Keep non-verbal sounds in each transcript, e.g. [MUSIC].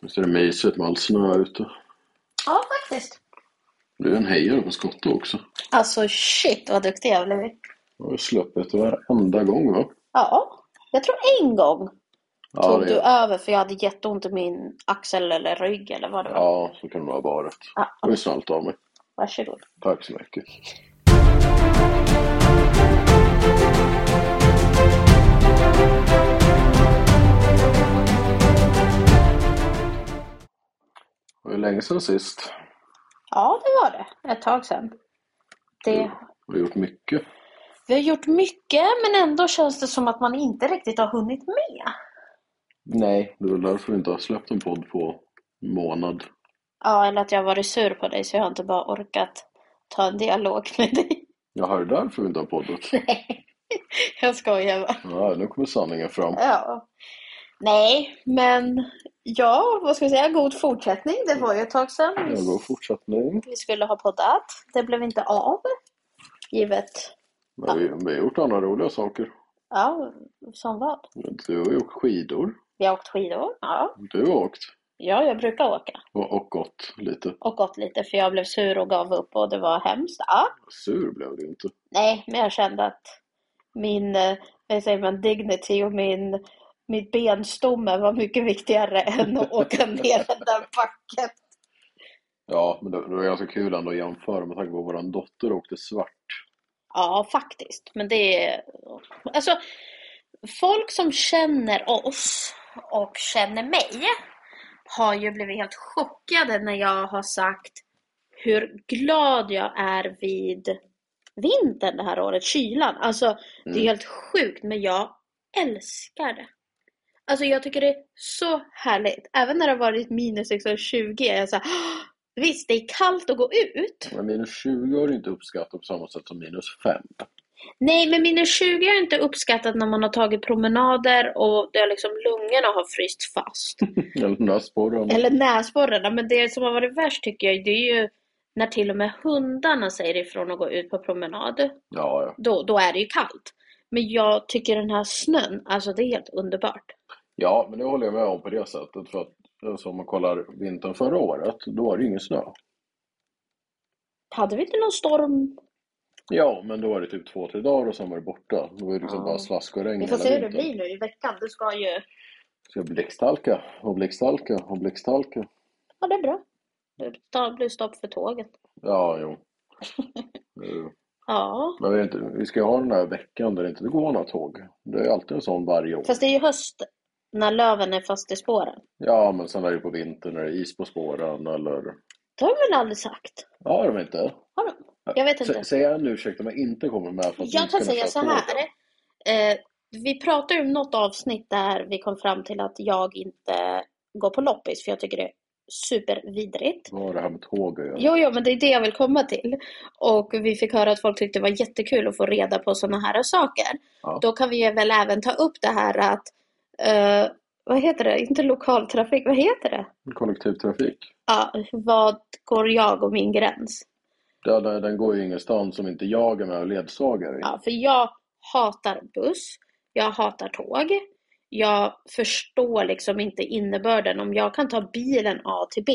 Visst är det mysigt med all snö ute. Ja, faktiskt. Du är en hejare på skotte också. Alltså shit vad duktig jag har blivit. Du har ju släppt varenda gång va? Ja, jag tror en gång Ja, tog det- du över för jag hade jätteont i min axel eller rygg eller vad det var. ja så kan det ha varit. Ja. Det var ju snällt av mig. Varsågod. Tack så mycket. Det var ju länge sedan sist. Ja, det var det. Ett tag sedan. Det... Vi har gjort mycket. Vi har gjort mycket men ändå känns det som att man inte riktigt har hunnit med. Nej. Det är väl därför vi inte har släppt en podd på en månad. Ja, eller att jag har varit sur på dig så jag har inte bara orkat ta en dialog med dig. [LAUGHS] Jaha, det är därför vi inte har poddat. Jag skojar bara. Ja, nu kommer sanningen fram. Ja. Nej, men ja, vad ska jag säga? God fortsättning. Det Mm. var ju ett tag sedan. Det går fortsättning. Vi skulle ha poddat. Det blev inte av. Givet. Men vi, vi har gjort andra roliga saker. Ja, som vad? Du har ju åkt skidor. Vi har åkt skidor. Ja. Du har åkt. ja, jag brukar åka. Och, och gått lite. Och gått lite för jag blev sur och gav upp och det var hemskt. Ja. Sur blev du inte. Nej, men jag kände att min, eh, vad säger man, dignity och min, mitt benstomme var mycket viktigare [LAUGHS] än att åka ner den där backen. Ja, men det, det var ganska kul ändå att jämföra med tanke på att vår dotter åkte svart. Ja, faktiskt. Men det är... Alltså, folk som känner oss och känner mig har ju blivit helt chockade när jag har sagt hur glad jag är vid vintern det här året, kylan. Alltså, det är Mm. helt sjukt, men jag älskar det. Alltså, jag tycker det är så härligt. Även när det har varit minus liksom 20 är jag så här, "Åh, visst, det är kallt att gå ut. Men minus 20 har du inte uppskattat på samma sätt som minus 5. Nej, men minus 20 är inte uppskattat när man har tagit promenader och det är liksom lungorna har fryst [LAUGHS] fast. Eller den där sporren. Eller näsborrarna. Men det som har varit värst tycker jag, det är ju när till och med hundarna säger ifrån att gå ut på promenad. Ja, ja. Då, då är det ju kallt. Men jag tycker den här snön, alltså det är helt underbart. Ja, men det håller jag med om på det sättet. För att alltså, om man kollar vintern förra året, då var det ju ingen snö. Hade vi inte någon storm? Ja, men då var det typ två, tre dagar och sen var det borta. Då var det liksom Ja. bara slask och regn Vi får hela se hur Mm, det vintern. blir nu i veckan. Du ska ju... Ska blixthalka och blixthalka och blixthalka. Ja, det är bra. Det blir stopp för tåget. Ja, [LAUGHS] jo. Eh, Ja. Men vi, är inte, vi ska ju ha den här veckan där det inte går några tåg. Det är ju alltid en sån varje år. Fast det är ju höst när löven är fast i spåren. Ja, men sen är det ju på vintern när det är is på spåren eller... Det har de väl aldrig sagt? Ja, de inte. Har de? Jag vet inte. Sä- Säger jag en ursäkt om jag inte kommer med för att Jag inte kan kunna säga så köra här. tågen? Eh, vi pratade om något avsnitt där vi kom fram till att jag inte går på loppis för jag tycker det är supervidrigt. Vad har det här med tåg att göra? Jo, jo, men det är det jag vill komma till. Och vi fick höra att folk tyckte det var jättekul att få reda på sådana här saker. Ja. Då kan vi ju väl även ta upp det här att, eh, vad heter det, inte lokaltrafik, vad heter det? Kollektivtrafik. Ja, vad går jag och min gräns? Ja, den, den går ju ingenstans som inte jag är med och ledsagare. Ja, för jag hatar buss, jag hatar tåg. Jag förstår liksom inte innebörden. Om jag kan ta bilen A till B,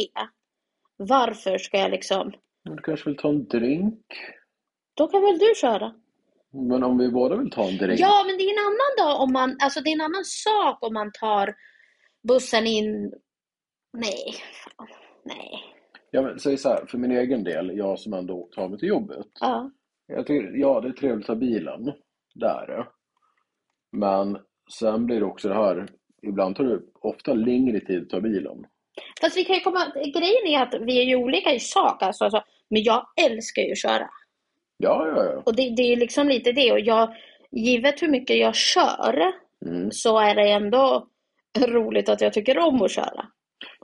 varför ska jag liksom... Men Du kanske vill ta en drink? Då kan väl du köra? Men om vi båda vill ta en drink? Ja, men det är en annan dag om man... Alltså det är en annan sak om man tar bussen in... Nej, fan, nej. Ja, men, säg så här, för min egen del, jag som ändå tar mig till jobbet. Ja. Jag tycker, ja, det är trevligt att ha bilen. Det är det. Men sen blir det också det här, ibland tar det ofta längre tid att ta bilen. Fast vi kan ju komma... Grejen är att vi är ju olika i sak. Alltså, alltså, men jag älskar ju att köra. Ja, ja, ja. Och det, det är ju liksom lite det. Och jag, givet hur mycket jag kör Mm. så är det ändå roligt att jag tycker om att köra.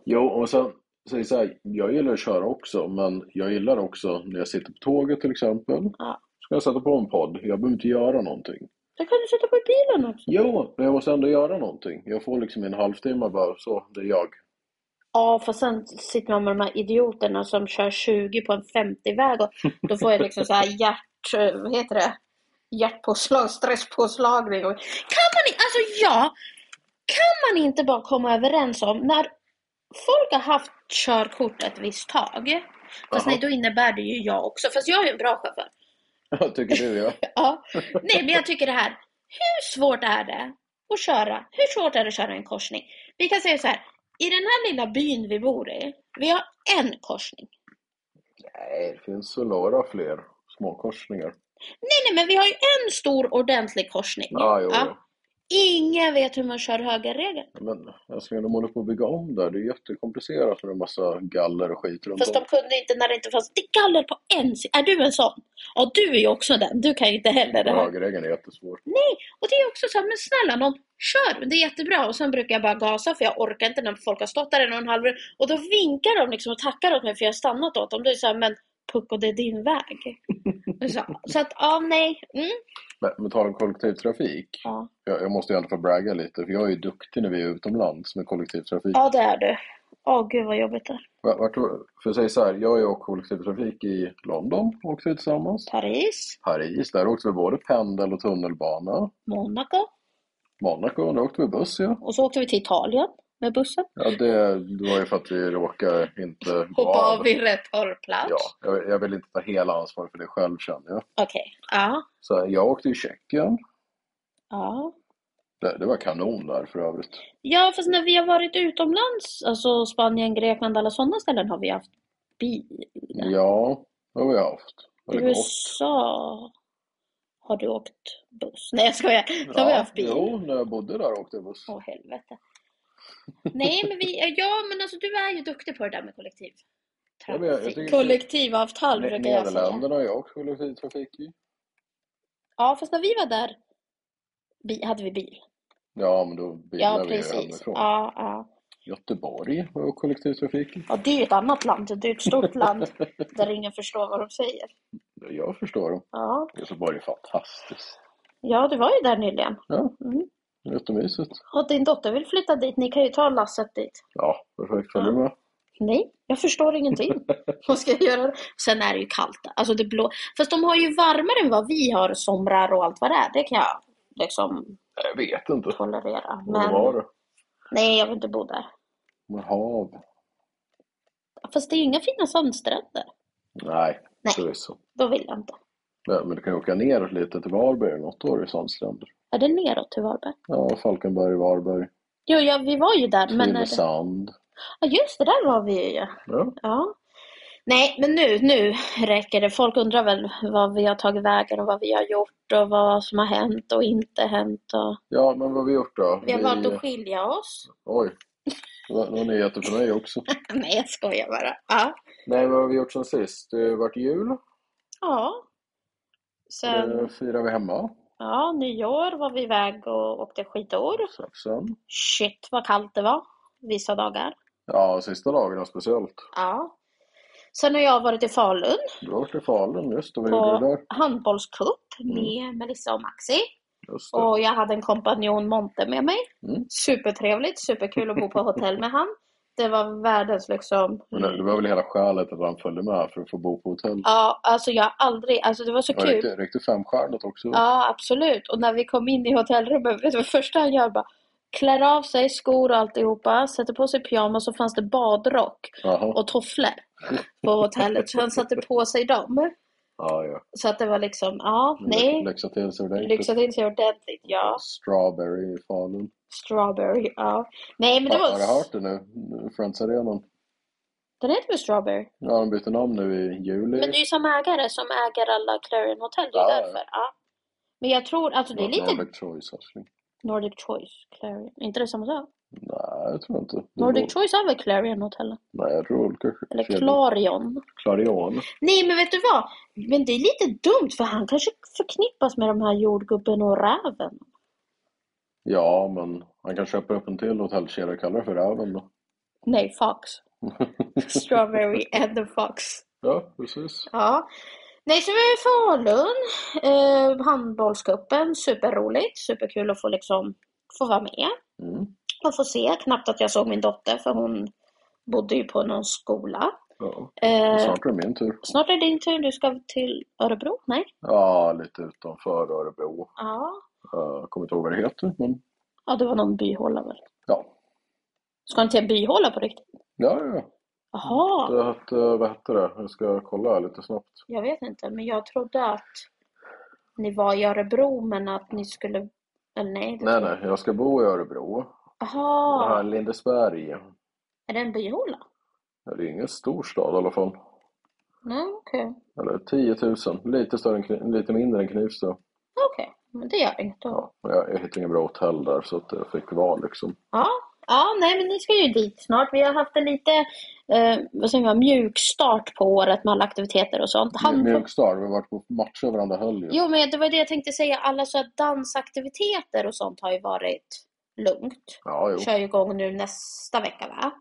Jo, och sen säg så här, jag gillar att köra också, men jag gillar också när jag sitter på tåget till exempel. Ja. Ska jag sätta på en podd? Jag behöver inte göra någonting. Då kan du sätta på i bilen också. Jo, men jag måste ändå göra någonting. Jag får liksom en halvtimme bara, så, det är jag. [LAUGHS] Ja, för sen sitter man med de här idioterna som kör 20 på en 50-väg och då får jag liksom så här hjärt... eh, Vad heter det? Hjärtpåslag, stresspåslagning. Och... Kan man inte... Alltså ja! Kan man inte bara komma överens om när folk har haft körkort ett visst tag. Fast Jaha. nej, då innebär det ju jag också. Fast jag är ju en bra chaufför. Vad tycker du? Ja. Ja. Nej, men jag tycker det här. Hur svårt är det att köra? Hur svårt är det att köra en korsning? Vi kan säga så här. I den här lilla byn vi bor i, vi har en korsning. Nej, det finns väl några fler småkorsningar. Nej, nej, men vi har ju en stor ordentlig korsning. Ja, jo, jo. Ingen vet hur man kör högerregeln. Men alltså, de håller på att bygga om där. Det är jättekomplicerat med en massa galler och skit runt Fast de om. kunde inte när det inte fanns. Det är galler på en sida. Är du en sån? Ja, du är ju också den. Du kan ju inte heller det här. Högerregeln är jättesvår. Och det är också så här, men snälla någon, kör! Det är jättebra. Och sen brukar jag bara gasa för jag orkar inte när folk har stått där en och en halv minut. Och då vinkar de liksom och tackar åt mig för jag har stannat åt dem. Då är det så här, men pucko det är din väg. så, så att, ja nej. Mm. Men, men tal om kollektivtrafik. Ja. Jag, jag måste ju ändå få bragga lite, för jag är ju duktig när vi är utomlands med kollektivtrafik. ja, det är du. Åh gud vad jobbigt det är. Vart- Vart, för jag säger så här, jag och jag åker kollektivtrafik i London, åkte vi tillsammans. Paris, Paris, där åkte vi både pendel och tunnelbana. Monaco Monaco, där åkte vi buss ja. och så åkte vi till Italien med bussen. ja det, det var ju för att vi råkade inte gå Hoppa av vid rätt hållplats. Ja, jag, jag vill inte ta hela ansvaret för det själv känner jag. Okej. Ja. Så jag åkte i Tjeckien. ja. Det, det var kanon där för övrigt. Ja, fast när vi har varit utomlands, alltså Spanien, Grekland, alla sådana ställen har vi haft bil. Ja, det har vi haft. Det var gott. USA har du åkt buss? Nej jag skojar, då har vi haft bil. Jo, när jag bodde där åkte jag buss. Åh helvete. Nej men vi, ja men alltså du är ju duktig på det där med kollektiv. Ja, men jag- jag tycker- Kollektivavtal Ne- brukar jag säga. Nederländerna har jag också kollektivtrafik i. Ja fast när vi var där bi- hade vi bil. Ja, men då Ja bilar vi ju precis. hemifrån. Ja, ja. Göteborg har jag kollektivtrafik i. ja det är ju ett annat land, det är ju ett stort [LAUGHS] land där ingen förstår vad de säger. Jag förstår dem. Ja, Göteborg är fantastiskt. ja du var ju där nyligen. Ja, Mm. jättemysigt. Och din dotter vill flytta dit, ni kan ju ta lasset dit. Ja, perfekt. Följer du med? Nej, jag förstår [LAUGHS] ingenting. Vad ska jag göra? Sen är det ju kallt. Alltså det blå... Fast de har ju varmare än vad vi har somrar och allt vad det är. Det kan jag liksom Jag vet inte. tolerera. Men... Vad Men var det? nej, jag vill inte bo där. Med hav? Fast det är ju inga fina sandstränder. Nej, Nej. förvisso. Då vill jag inte. Men men du kan ju åka neråt lite till Varberg eller något. Då är det sandstränder. Är det neråt till Varberg? Ja, Falkenberg, Varberg, Jo, ja, vi var ju där. Men är det... Tylösand. Ja, just det, där var vi ju. ja. Ja. Ja. Nej, men nu, nu räcker det. Folk undrar väl vad vi har tagit vägen och vad vi har gjort och vad som har hänt och inte hänt. Och... Mm. ja, men vad har vi gjort då? Vi har valt att skilja oss. Oj. Det var det var nyheter för mig också. [LAUGHS] Nej, jag skojar bara. Ja. Nej, vad har vi gjort sen sist? Det har varit jul. ja. Det Sen, firar vi hemma. ja, nyår var vi iväg och åkte skidor. Saxen. Shit vad kallt det var vissa dagar. Ja, sista dagarna speciellt. Ja. Sen har jag varit i Falun Du har varit i Falun, just det. Vad gjorde du på där? Mm. handbollscup med Melissa och Maxi. Just det. Och jag hade en kompanjon Monte med mig. Mm. Supertrevligt, superkul att bo på hotell med han. Det var världens liksom... [LAUGHS] Men det, det var väl hela skälet att han följde med för att få bo på hotell. Ja, alltså jag har aldrig... Alltså det var så det var kul. riktigt, riktigt femstjärnigt också. Ja, absolut. Och när vi kom in i hotellrummet, vet du vad första han gör? Bara, klär av sig skor och alltihopa, sätter på sig pyjamas och fanns det badrock Jaha. och tofflor på hotellet. Så han satte på sig dem. Ja, ja. Så att det var liksom, ja, Lyx- nej. Lyxa till sig Lyxa ordentligt. till sig ordentligt, ja. Strawberry i Falun. Strawberry, ja. Nej, men det Har, har du var... hört det nu? Friends Arenan. Den heter väl Strawberry? Ja, de bytte namn nu i juli. Men det är ju samma ägare som äger alla Clarion Hotel. Det är Ja, ja. därför. Ja. Men jag tror, alltså det är lite Nordic Choice-satsning. Nordic Choice, Clarion. inte det samma sak? Nej, jag tror inte. Det Nordic bor- Choice är väl Clarion Hotel? Nej, jag tror olika Eller kedjor. Clarion? Clarion. Nej, men vet du vad? Men det är lite dumt för han kanske förknippas med de här jordgubben och räven. Ja, men han kan köpa upp en till hotellkedja och kalla det för Räven då. Nej, Fox. Strawberry and the Fox. Ja, precis. Ja. Nej, så vi var i Falun. Eh, handbollscupen, superroligt. Superkul att få liksom få vara med Mm. och få se. Knappt att jag såg min dotter för hon bodde ju på någon skola. Ja. Eh, Snart är det min tur. Snart är det din tur. Du ska till Örebro? Nej? Ja, lite utanför Örebro. Ja. Jag kommer inte ihåg vad det heter, men Ja, det var någon byhåla väl? ja. Ska ni till en byhåla på riktigt? Ja, ja, ja. Jaha, Det hette, vad hette det? Jag ska kolla här lite snabbt. jag vet inte. Men jag trodde att ni var i Örebro men att ni skulle... Eller nej. det- Nej, nej, jag ska bo i Örebro. Det här är Jaha, Lindesberg. är det en byhåla? Ja, Det är ingen stor stad i alla fall. Nej, okej. Eller 10 000. Lite, större än, Kni- lite mindre än Knivsta. Okej, men det gör inget då. Ja, men jag, jag hittade inga bra hotell där så att jag fick vara liksom. Ja. ja, nej men ni ska ju dit snart. Vi har haft en lite eh, vad säger man, mjuk start på året med alla aktiviteter och sånt. Handboll- Mjukstad, vi har varit på matcher varandra helg. Jo, men det var det jag tänkte säga. Alla så här dansaktiviteter och sånt har ju varit lugnt. Ja, jo. Kör ju igång nu nästa vecka va?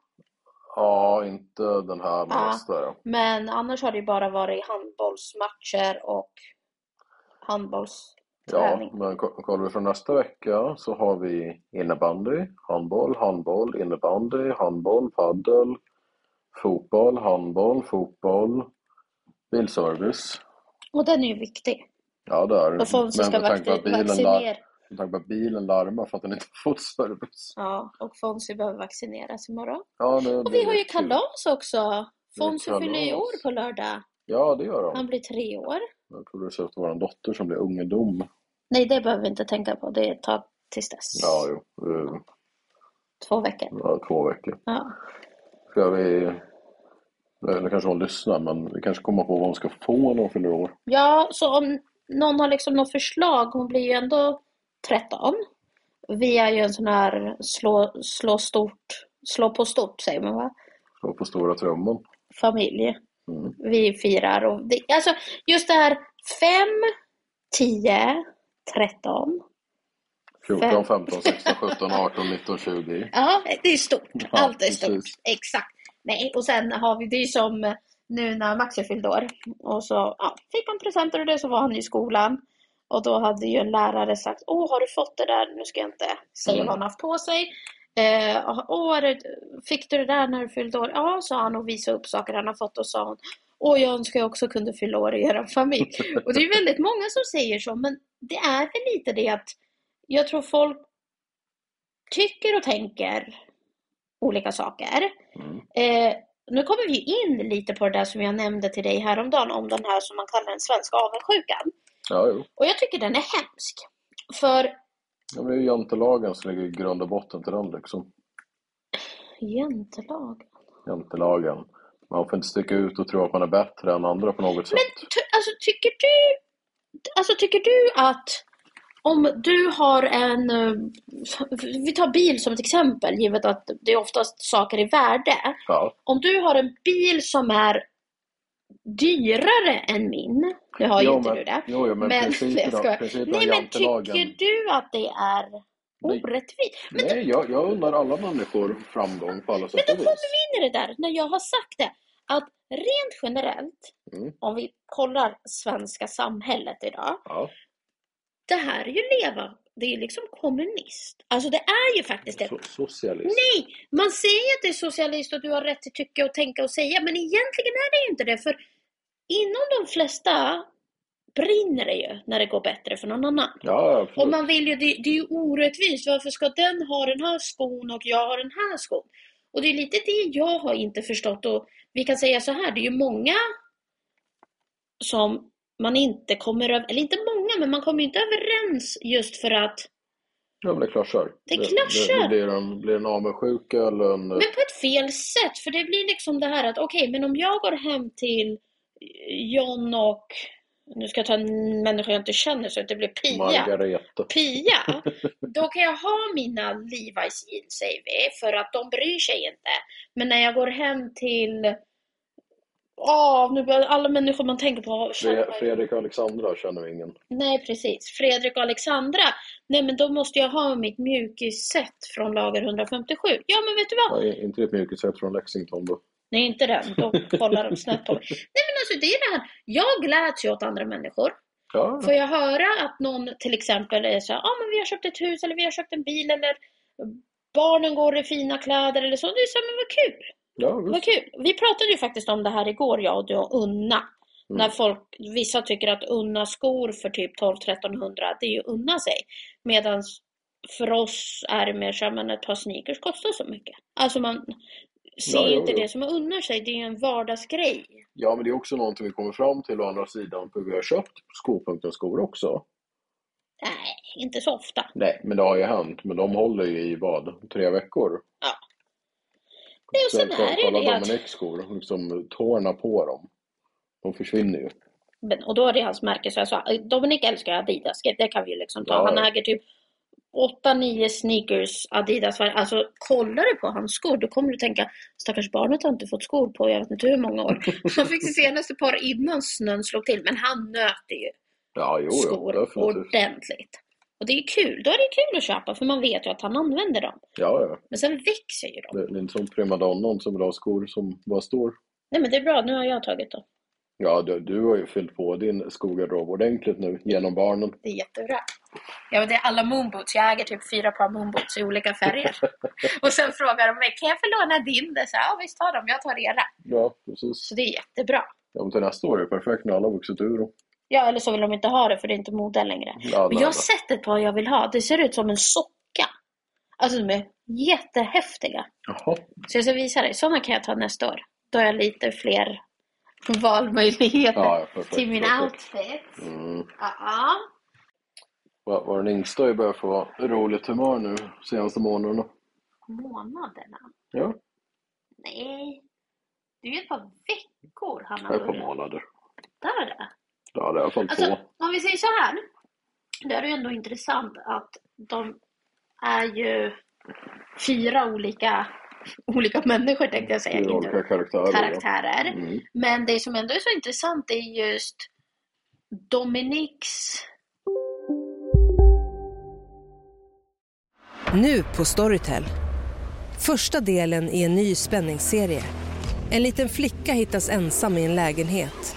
Ja, inte den här men Ja. nästa. Ja. Men annars har det ju bara varit handbollsmatcher och handbollsträning. Ja, men ko- kollar vi från nästa vecka så har vi innebandy, handboll, handboll, innebandy, handboll, paddel, fotboll, handboll, fotboll, bilservice. Och den är ju viktig. Ja, det är det. Då får vi som ska Mm, med tanke på att vaccin- bilen lar- vaccinera. med tanke på att bilen larmar för att den inte fått service. Ja, och Fonzie behöver vaccineras imorgon. Ja, nu Och blir vi har det ju kul. kalas också! Fonzie kalas. fyller ju år på lördag. Ja, det gör Han de. blir tre år. Jag trodde du sa att det var en dotter som blev ungdom. Nej, det behöver vi inte tänka på. Det är ett tag tills dess. Ja, jo. eh, Två veckor. ja, Två veckor. Ja. Ska vi... Nu kanske hon lyssnar, men vi kanske kommer på vad hon ska få när hon fyller år. ja, så om någon har liksom något förslag. Hon blir ju ändå 13. Vi är ju en sån här slå, slå stort, slå på stort säger man va? Slå på stora trumman. Familj. Mm. Vi firar och det, alltså just det här 5, 10, 13. 14, 15, 16, 17, 18, 19, 20. Ja, det är stort. Ja, Allt är stort. precis. Exakt. Nej, och sen har vi det är ju som nu när Maxi fyllde år. Och så ja, fick han presenter och det så var han i skolan. Och då hade ju en lärare sagt Åh, har du fått det där? Nu ska jag inte säga Mm. vad han haft på sig. Eh, Åh, har du- fick du det där när du fyllde år? Ja, sa han och visade upp saker han har fått och sa hon Åh, jag önskar jag också kunde fylla år i er familj. [LAUGHS] Och det är väldigt många som säger så, men det är väl lite det att jag tror folk tycker och tänker olika saker. Mm. Eh, nu kommer vi in lite på det där som jag nämnde till dig häromdagen om den här som man kallar den svenska avundsjukan. Ja, jo. Och jag tycker den är hemsk. För Ja, men det är ju jantelagen som ligger i grund och botten till den liksom. jäntelag. Jantelagen. Man får inte sticka ut och tro att man är bättre än andra på något sätt. Ty, alltså, tycker du, alltså tycker du att om du har en, eh, vi tar bil som ett exempel givet att det är oftast saker i värde. Ja, Om du har en bil som är dyrare än min, nu har ju Jo, inte men- du det. jo, jo, men principen- [LAUGHS] jag skojar. principen om Nej, men jantelagen- tycker du att det är orättvist? Men, nej, jag, jag undrar alla människor framgång på alla men sätt då och vis. kommer vi in i det där, när jag har sagt det, att rent generellt, Mm. om vi kollar svenska samhället idag, Ja, det här är ju leva, det är ju liksom kommunist. Alltså det är ju faktiskt det. so socialist. Nej, man säger att det är socialist och du har rätt till tycka och tänka och säga, men egentligen är det ju inte det. För inom de flesta brinner det ju när det går bättre för någon annan. Ja, absolut. Och man vill ju, det, det är ju orättvist. Varför ska den ha den här skon och jag har den här skon? Och det är lite det jag har inte förstått. Och vi kan säga så här, det är ju många som man inte kommer över, eller inte många, men man kommer ju inte överens just för att Ja, men det klaschar. Det klaschar. Det, det, blir, en, blir en avundsjuka eller en... Men på ett fel sätt, för det blir liksom det här att okej, men om jag går hem till John och, nu ska jag ta en människa jag inte känner så att det blir Pia. Margareta. Pia, då kan jag ha mina Levi's jeans säger vi, för att de bryr sig inte. Men när jag går hem till, ja, nu börjar alla människor man tänker på känner Fre- man- Fredrik och Alexandra känner vi ingen. Nej precis, Fredrik och Alexandra, nej men då måste jag ha mitt mjukis-set från lager 157. Ja men vet du vad? Ja, i- inte ett mjukisset från Lexington då. Nej, inte den. Då kollar de snett på mig. Nej, men alltså det är det här. Jag gläds ju åt andra människor. Ja, Får jag höra att någon till exempel är så här, ah, men vi har köpt ett hus eller vi har köpt en bil eller barnen går i fina kläder eller så. Det är så här, men vad kul, ja vad visst. kul. Vi pratade ju faktiskt om det här igår, jag och du och Unna. Mm. När folk, vissa tycker att unna skor för typ 12-1300, det är ju unna sig. Medan för oss är det mer så här, men ett par sneakers kostar så mycket. Alltså man ser Ja, jo, inte jo. det som unnar sig, det är ju en vardagsgrej. ja, men det är också någonting vi kommer fram till å andra sidan, för vi har köpt Skopunktens skor också. Nej, inte så ofta. Nej, men det har ju hänt. Men de håller ju i vad? Tre veckor? Ja. Nej, och sen Kolla- är det ju kolla det att- Dominics skor, liksom tårna på dem. De försvinner ju. Men, och då är det hans märke, så jag sa, Dominic älskar Adidas, det kan vi ju liksom ta. Ja, Han ja. äger typ 8-9 sneakers Adidas. varje- Alltså kollar du på hans skor, då kommer du tänka, stackars barnet har inte fått skor på jag vet inte hur många [LAUGHS] år. Han fick sitt senaste par innan snön slog till, men han nöter ju Ja, jo, jo, skor definitivt. ordentligt. Och det är kul, då är det kul att köpa, för man vet ju att han använder dem. Ja, ja. Men sen växer ju de. Det det är inte som primadonnan som vill ha skor som bara står. Nej men det är bra, nu har jag tagit dem. Ja, du, du har ju fyllt på din skogarderob ordentligt nu genom barnen. Det är jättebra. Ja, men det är alla moonboots. Jag äger typ fyra par moonboots i olika [LAUGHS] färger. och sen frågar de mig, kan jag få låna din? Det är så här, ja visst ta dem, jag tar era. Ja, precis. Så det är jättebra. Ja, men till nästa år är det perfekt när alla har vuxit ur dem. Ja, eller så vill de inte ha det för det är inte mode längre. Ja, Men nej, jag nej. har sett ett par jag vill ha. Det ser ut som en socka. Alltså de är jättehäftiga. Jaha. Så jag ska visa dig. Sådana kan jag ta nästa år. Då har jag lite fler valmöjligheter Ja, ja, perfekt, till min perfekt. outfit. Mm. Ja, Var, var den yngsta har ju börjat få vara roligt humör nu senaste månaderna. månaderna. Ja, Nej. Det är ju ett par veckor han det har är på börjat. månader. Där är det. Ja, det är i alla fall Alltså, två. om vi säger så här. Då är det ju ändå intressant att de är ju fyra olika, olika människor tänkte jag säga. Fyra inte olika karaktärer. karaktärer. Ja. Mm. Men det som ändå är så intressant är just Dominics Nu på Storytel. Första delen i en ny spänningsserie. En liten flicka hittas ensam i en lägenhet.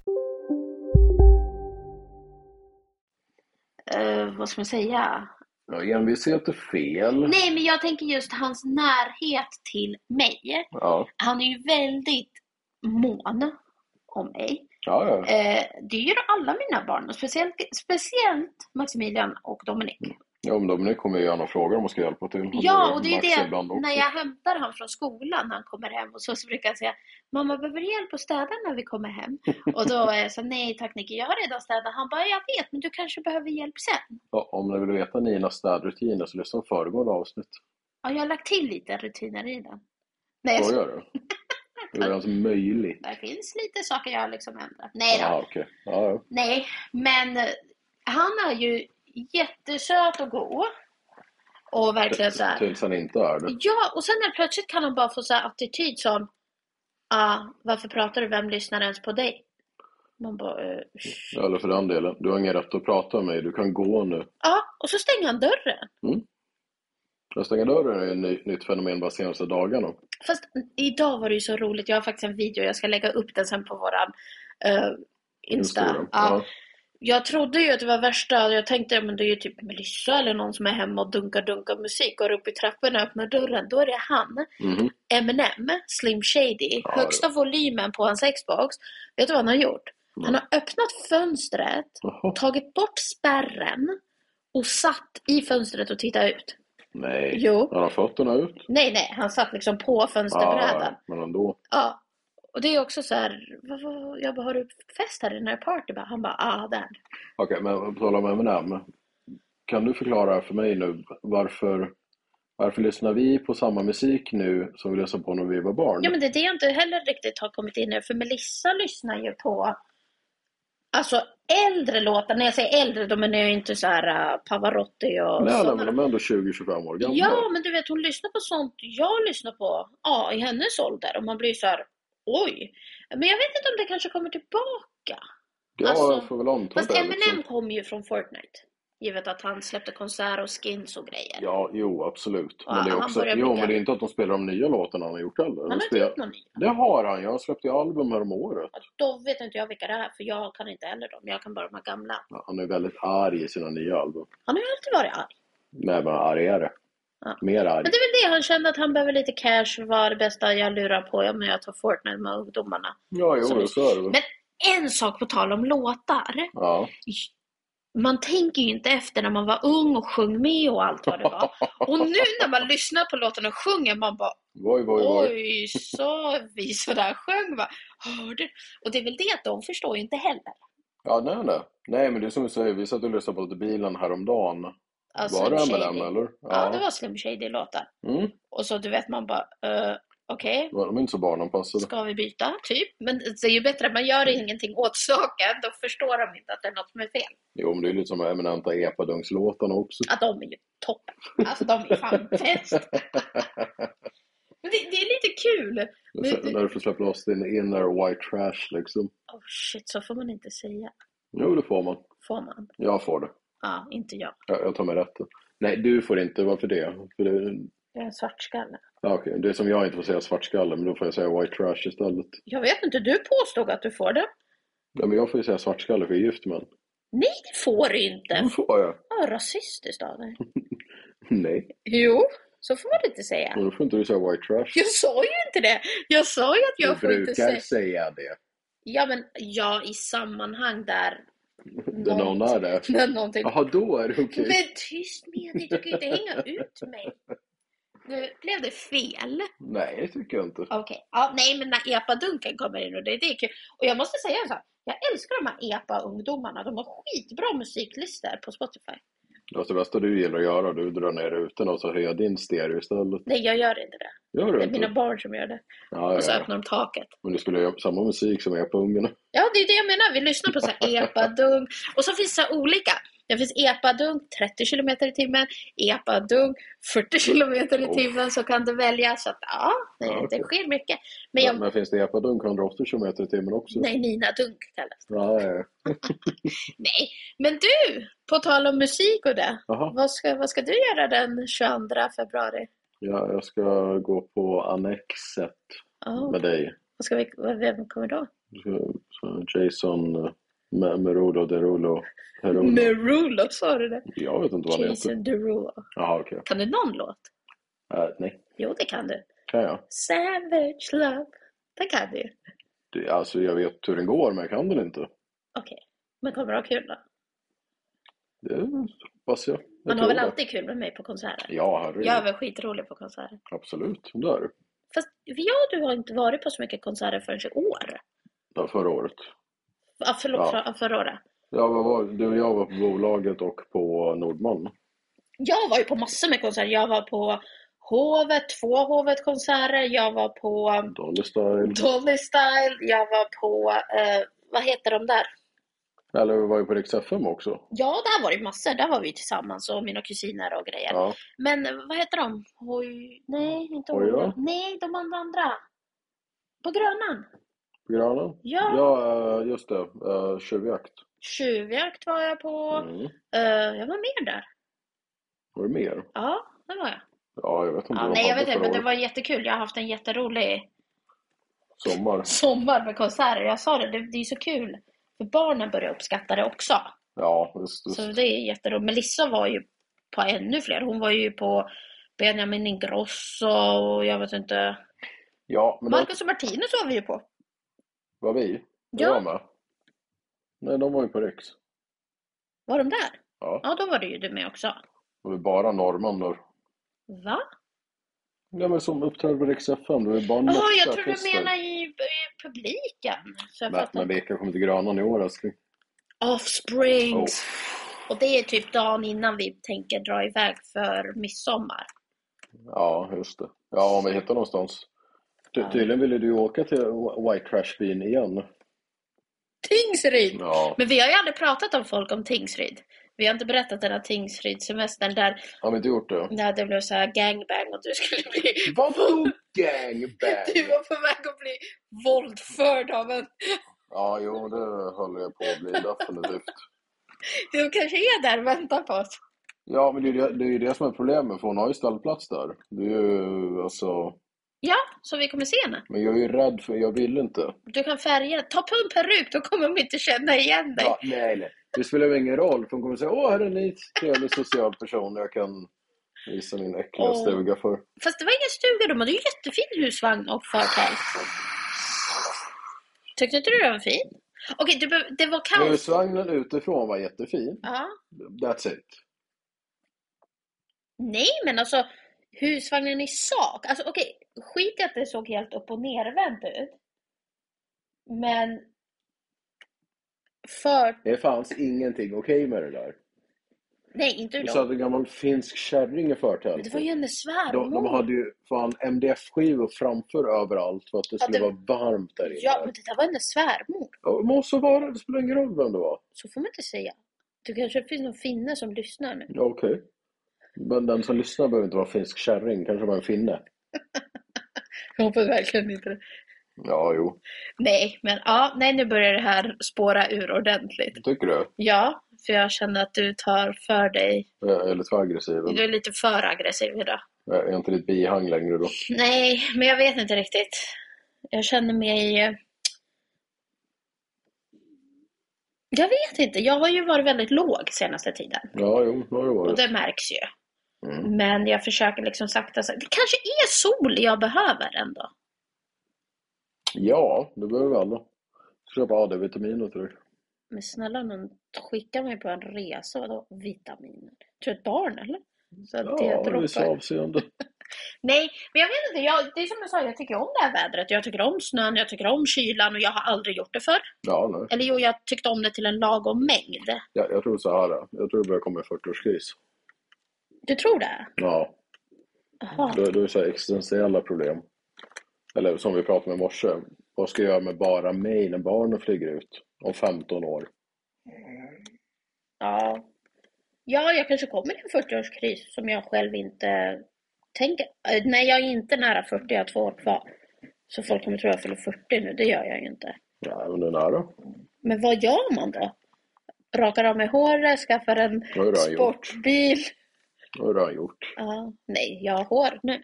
eh, vad ska man säga? Ja, envishet är fel. Nej, men jag tänker just hans närhet till mig. Ja, Han är ju väldigt mån om mig. ja, ja. Eh, det gör alla mina barn, och speciellt, speciellt Maximilian och Dominic. Ja, men Dominik kommer ju gärna fråga om man ska hjälpa till. Mm, Han Ja, gör och det är Max det, ibland också. när jag hämtar honom från skolan, när han kommer hem, och så, så brukar han säga Mamma, behöver du hjälp att städa när vi kommer [LAUGHS] hem? Och då är jag så nej tack Nicky, jag har redan städat. Han bara, jag vet, men du kanske behöver hjälp sen. Ja, om ni vill veta Ninas städrutiner så lyssna på föregående avsnitt. Ja, jag har lagt till lite rutiner i den. Nej, jag Skojar du? Det är ens möjligt. det finns lite saker jag har liksom ändrat. Nej då. Ja, okej. Ja, ja. Nej, men eh, han är ju jättesöt och god. Och verkligen så här. Tills han inte är det. Ja, och sen när plötsligt kan han bara få så här attityd som ah, varför pratar du, vem lyssnar ens på dig? Man bara, eh, usch. Eller för den delen, du har ingen rätt att prata med mig, du kan gå nu. Ja, och så stänger han dörren. Att stänga dörren är ett ny, nytt fenomen bara senaste dagarna. Fast idag var det ju så roligt. Jag har faktiskt en video. Jag ska lägga upp den sen på våran eh, Insta. Instagram. Ja. Ja. Jag trodde ju att det var värsta. Jag tänkte men det är ju typ Melissa eller någon som är hemma och dunkar dunkar musik. Går upp i trappan och öppnar dörren. Då är det han. Mhm. Eminem, Slim Shady. Ja, högsta volymen på hans Xbox. Vet du vad han har gjort? Han har öppnat fönstret, Jaha. tagit bort spärren och satt i fönstret och tittat ut. Nej, Jo. har han fötterna ut? Nej, nej, han satt liksom på fönsterbrädan. Ja, men ändå. Ja. Och det är också så här, vad, vad, jag bara, har du fest här i den här party? Bara, Han bara, ah, där. Okej, men på tal om Eminem. Kan du förklara för mig nu varför, varför lyssnar vi på samma musik nu som vi lyssnade på när vi var barn? Ja, men det är det jag inte heller riktigt har kommit in i, för Melissa lyssnar ju på Alltså äldre låtar, när jag säger äldre, de är ju inte så här äh, Pavarotti och Nej, nej, sådana. men de är ändå 20-25 år gamla. Ja, men du vet hon lyssnar på sånt jag lyssnar på ja, i hennes ålder och man blir så här, oj. Men jag vet inte om det kanske kommer tillbaka. ja alltså, jag får väl anta Fast det. Eminem liksom. kom ju från Fortnite. Givet att han släppte konserter och skins och grejer. Ja, jo, absolut. Ja, Men det är han också, börjar jo, bygga. men det är inte att de spelar de nya låtarna han har gjort heller. Han De har inte spel- gjort någon ny. Det har han. Jag släppte ju album här om året. Ja, Då vet inte jag vilka det är, för jag kan inte heller dem. Jag kan bara de här gamla. Ja, Han är väldigt arg i sina nya album. Han har ju alltid varit arg. Nej, men argare. Ja. Mer arg. Men det är väl det, han kände att han behöver lite cash. Vad är det bästa jag lurar på? Ja, men jag tar Fortnite med ungdomarna. Ja, jo, Sorry. det så är det väl. Men en sak på tal om låtar. Ja. Man tänker ju inte efter när man var ung och sjöng med och allt vad det var. Och nu när man lyssnar på låtarna och sjunger, man bara Voj, voj, voj. Oj, så vi sådär sjöng va? Hörde? Och det är väl det att de förstår ju inte heller. Ja, nej, nej. Nej, men det är som du säger, vi satt och lyssnade på det i bilen häromdagen. Alltså, var det Slim Eminem, Shady. eller? Ja, det var Slim Shady-låtar. Mm. Och så du vet man bara, uh, okej, Var de inte så barnanpassade? ska vi byta? Typ. Men det är ju bättre att man gör ingenting åt saken. Då förstår de inte att det är något som är fel. Jo, men det är lite som de eminenta epadungslåtarna också. Att de är ju toppen. Alltså de är fan [LAUGHS] bäst. Men det, det är lite kul. Så- Men, Därför släpper loss din inner white trash, liksom. oh shit, så får man inte säga. Jo, det får man. Får man? Jag får det. Ja, inte jag. Jag, jag tar mig rätten. Nej, du får inte. Varför det? För det... Jag är en svartskalle. Ja, okej. Det är som jag inte får säga svartskalle, men då får jag säga white trash istället. Jag vet inte, du påstod att du får det. Nej, men jag får ju säga svartskalle för jag är gift med honom. Nej, det får du Då inte. får jag. Ja, rasistiskt av dig. Nej, Jo, så får man inte säga. men då får inte du säga white trash. Jag sa ju inte det. Jag sa ju att jag du får inte brukar säga. säga det. Ja, men ja, i sammanhang där Det någon är det. när någonting... Jaha, då är det okej. Men tyst med dig, du kan ju inte hänga ut mig. Nu blev det fel. Nej, det tycker jag inte. Okej, ja, nej men när epadunken kommer in och det, det är kul. Och jag måste säga en sak. Jag älskar de här epa-ungdomarna. De har skitbra musiklistor på Spotify. Det var det bästa du gillar att göra. Du drar ner rutorna och så höjer jag din stereo istället. Nej, jag gör inte det. Gör Det du är mina inte? barn som gör det. Ja, ja, Och så ja. öppnar de taket. Men du skulle göra samma musik som epungarna. Ja, det är det jag menar. Vi lyssnar på så här epadunk. Och så finns det så här olika. Det finns epadunk 30 kilometer i timmen, epadunk 40 kilometer i Oh. timmen. Så kan du välja. Så att, ja, det, Ja, okej. det sker mycket. Men Men, jag, men finns det epadunk 180 km i timmen också? nej, Nina Dunk kallas det. Ja, ja, ja. Nej, men du, på tal om musik och det. Jaha. Vad ska, vad ska du göra den 22 februari? Ja, jag ska gå på Annexet Oh, med dig. vad ska vi, vad- vem kommer då? Så- så Jason eh, Me- Merulo Derulo. Derulo. Merulo, sa du det? Jag vet inte vad han heter. Jason Derulo. Jaha, okej. Kan du någon låt? Eh, nej, Jo, det kan du. kan jag? Savage Love. Det kan du ju. Det, alltså, jag vet hur den går, men jag kan den inte. Okej, men kommer du ha kul då? Det hoppas jag. jag Man har tror väl det. alltid kul med mig på konserter? Ja, herregud. Jag är väl skitrolig på konserter. Absolut, det är det. Fast jag och du har inte varit på så mycket konserter förrän i år. Ja, förra året. Ah, förlåt, Ja. för, förra året. Ja, vad var, du och jag var på bolaget och på Nordman. Jag var ju på massor med konserter. Jag var på Hovet, två Hovet-konserter. Jag var på um, Dolly Style. Dolly Style. Jag var på, eh, vad heter de där? Eller vi var ju på Rix FM också. Ja, där var det ju massor. Där var vi tillsammans och mina kusiner och grejer. Ja. Men eh, vad heter de? Hoj... Nej, inte Hoja? Hoja. Nej, de andra. På Grönan. granen? Ja. Ja, eh, just det. Eh, Tjuvjakt. Tjuvjakt var jag på. Mm. Eh, jag var mer där. Var det mer? Ja, det var jag. Ja, jag vet inte. Ja, vad nej, jag hade vet inte, förra men det året. var jättekul. Jag har haft en jätterolig Sommar. sommar med konserter. Jag sa det, det, det är så kul. För barnen börjar uppskatta det också. Ja, visst. Så visst. det är jätteroligt. Melissa var ju på ännu fler. Hon var ju på Benjamin Ingrosso och jag vet inte. Ja, men det Marcus och Martinus var vi ju på. var vi. Det Ja. var med. Nej, de var ju på Riks. Var de där? Ja. Ja, då var det ju du med också. Det var bara norrmän då. Va? Ja, men som uppträdde på Rix FM. Det var ju bara Jaha, norska jag tror du artister. menar i, i publiken. Så jag Nej, fattar men inte. vilka kommer till Grönan i år älskling? Oh. Offsprings. Och det är typ dagen innan vi tänker dra iväg för midsommar. Ja, just det. Ja, om vi hittar någonstans. Ty tydligen ville du ju åka till White Trash Bean igen. Tingsryd! Ja, Men vi har ju aldrig pratat om folk om Tingsryd. Vi har inte berättat den här Tingsryd-semestern där, har vi inte gjort det? där det blev så här gangbang och du skulle bli... Vadå gangbang? [LAUGHS] Du var på väg att bli våldförd av en... Ja, jo, det höll jag på att bli definitivt. Du kanske är där och väntar på oss. Ja, men det är ju det, det, är ju det som är problemet, för hon har ju ställplats där. Det är ju, alltså, Ja, så vi kommer se henne. men jag är ju rädd för, jag vill inte. Du kan färga Ta på en peruk, då kommer de inte känna igen dig. Ja, nej, nej. Det spelar ju ingen roll, för hon kommer säga åh, här är en ny trevlig social person jag kan visa min äckliga Åh. stuga för. Fast det var ingen stuga, de hade ju jättefin husvagn och förtält. Tyckte inte du den var fin? Okej, du behöver- det var kaos. Husvagnen utifrån var jättefin. Ja. That's it. Nej, men alltså husvagnen i sak. Alltså okej, skit i att det såg helt upp och nervänt ut. Men för... Det fanns ingenting okej med det där. Nej, inte ur Du dem. satt en gammal finsk kärring i Men Det var förtältet. ju hennes De, svärmor. de hade ju fan MDF-skivor framför överallt för att det skulle det- vara varmt där inne. Ja, men det där var hennes svärmor. Ja, det måste vara det. Det spelar ingen roll vem det var. Så får man inte säga. Det kanske finns någon finne som lyssnar [LAUGHS] nu. Ja, Okej. Men den som lyssnar behöver inte vara finsk kärring. Kanske var en finne. Jag hoppas verkligen inte det. Ja, jo. Nej, men ja, nej nu börjar det här spåra ur ordentligt. Tycker du? Ja, för jag känner att du tar för dig. Jag är lite för aggressiv. Du är lite för aggressiv idag. Jag är inte ditt bihang längre då. Nej, men jag vet inte riktigt. Jag känner mig... eh, Jag vet inte. Jag har ju varit väldigt låg senaste tiden. Ja, jo, det har det Och varit. det märks ju. Mm. Men jag försöker liksom sakta... sak- Det kanske är sol jag behöver ändå. Ja, det behöver vi alla. Köpa AD-vitamin och tror Men snälla nån, skicka mig på en resa. Vadå vitaminer? Tror du ett barn eller? Så att det Ja, i vissa droppar. avseenden. Nej, men jag vet inte. Jag, det är som jag sa, jag tycker om det här vädret. Jag tycker om snön, jag tycker om kylan och jag har aldrig gjort det förr. Ja, nej. Eller jo, jag tyckte om det till en lagom mängd. Jag, jag tror så här. Jag tror det börjar komma en 40-årskris. Du tror det? Ja, Jaha. då, då är det så här existentiella problem. Eller som vi pratade med i morse. Vad ska jag göra med bara mig när barnen flyger ut om 15 år? Ja. Ja, jag kanske kommer i en 40-årskris som jag själv inte tänker. Eh, Nej, jag är inte nära 40, jag har två år kvar. Så folk kommer tro att jag fyller 40 nu, det gör jag ju inte. Nej, men det är nära. Men vad gör man då? Rakar av mig håret, skaffar en har jag gjort. sportbil. Det har jag gjort. Ja, nej, jag har hår nu.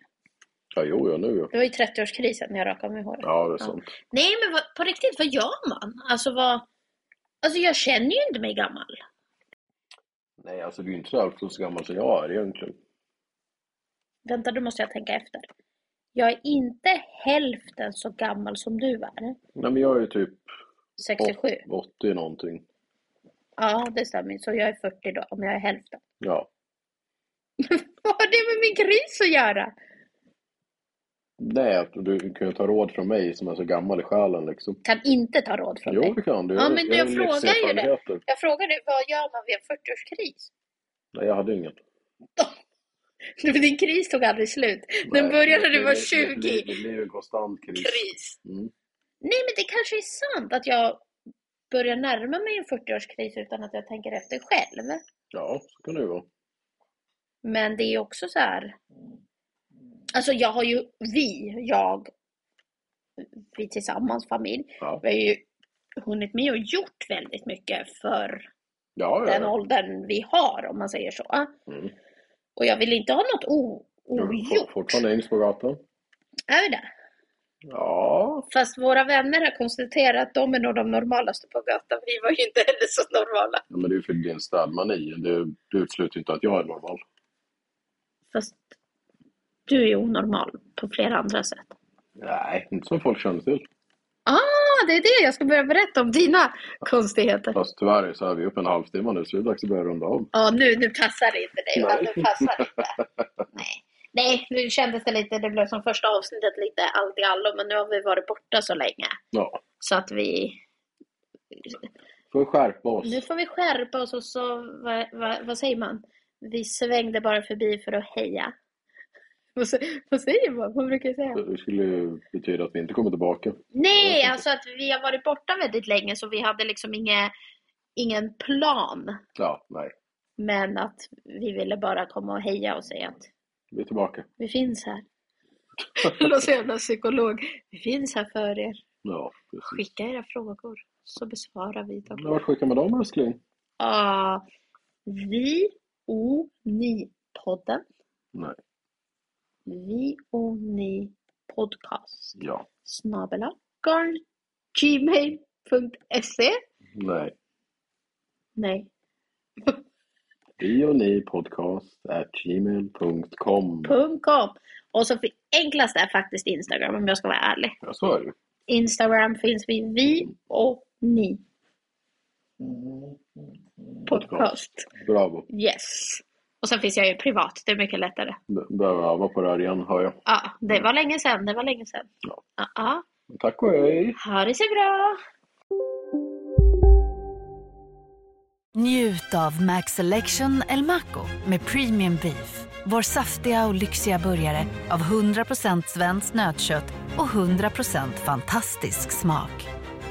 Ja, jo, ja, nu ja. Det var ju 30-årskrisen när jag rakade av mig håret. Ja, det är sant. Nej, men vad, på riktigt, vad gör man? Alltså, vad... Alltså, jag känner ju inte mig gammal. Nej, alltså du är ju inte så här så gammal som jag är egentligen. Vänta, då måste jag tänka efter. Jag är inte hälften så gammal som du är. Nej, men jag är ju typ 67. 80 någonting. Ja, det stämmer. Så jag är 40 då, om jag är hälften. [LAUGHS] Ja. Vad har det med min gris att göra? Nej, att du kan ju ta råd från mig som är så gammal i själen liksom. Kan inte ta råd från Jo, dig. det kan du. Ja, har- men jag har frågar ju det. livserfarenheter. Jag frågade, vad gör man vid en [LAUGHS] 40-årskris? Nej, jag hade ingen. Nej, men Din kris tog aldrig slut. Den Nej, började när det- du var det- 20. det- Det, det blir ju en konstant kris. Kris. Mm. Nej, men det kanske är sant att jag börjar närma mig en 40-årskris utan att jag tänker efter själv. Ja, så kan det ju vara. Men det är också så här. Alltså jag har ju, vi, jag vi tillsammans, familj, Ja, vi har ju hunnit med och gjort väldigt mycket för ja, ja. den åldern vi har, om man säger så. Mm. Och jag vill inte ha något o- Du ogjort. är fortfarande yngst på gatan. Är vi det? Ja, Fast våra vänner har konstaterat att de är nog de normalaste på gatan. Vi var ju inte heller så normala. men det är ju för din städmani. Du, du utesluter ju inte att jag är normal. Fast du är onormal på flera andra sätt. Nej, inte som folk känner till. Ah, det är det jag ska börja berätta om dina konstigheter. Ja, Fast tyvärr så är vi uppe en halvtimme nu så det är dags att börja runda av. nu, nu passar det inte dig. va? Nej. Nu passar det inte. Nej. Nej, nu kändes det lite, det blev som första avsnittet lite allt i allo, men nu har vi varit borta så länge. Ja, Så att vi, får skärpa oss. nu får vi skärpa oss och så, vad, vad, vad säger man? Vi svängde bara förbi för att heja. Vad, sä- vad säger man? Vad brukar jag säga? Det skulle ju betyda att vi inte kommer tillbaka. Nej, alltså att vi har varit borta väldigt länge så vi hade liksom inge, ingen plan. Ja, nej. Men att vi ville bara komma och heja och säga att Vi är tillbaka. vi finns [LAUGHS] här. Någon så jävla psykolog. Vi finns här för er. Ja, precis. Skicka era frågor så besvarar vi dem. Ja, Vart skickar man dem älskling? Ah, vi o ni podden. Nej. Vi o ni podcast. Ja. Snabela garn gmail.se. Nej. Nej. Vi och ni podcast at gmail.com. Instagram.com. Och så fi- enklast är faktiskt Instagram om jag ska vara ärlig. Ja, så är det ju. Instagram finns vi vi och ni. Podcast. Bravo. Yes. Och sen finns jag ju privat, det är mycket lättare. Be- Behöver öva på det här igen, hör jag. Ja, det var länge sedan, det var länge sedan. Ja. Ja, ja. Tack och hej! Ha det så bra! Njut av Max Selection El Maco med Premium Beef. Vår saftiga och lyxiga burgare av 100% svenskt nötkött och 100% fantastisk smak.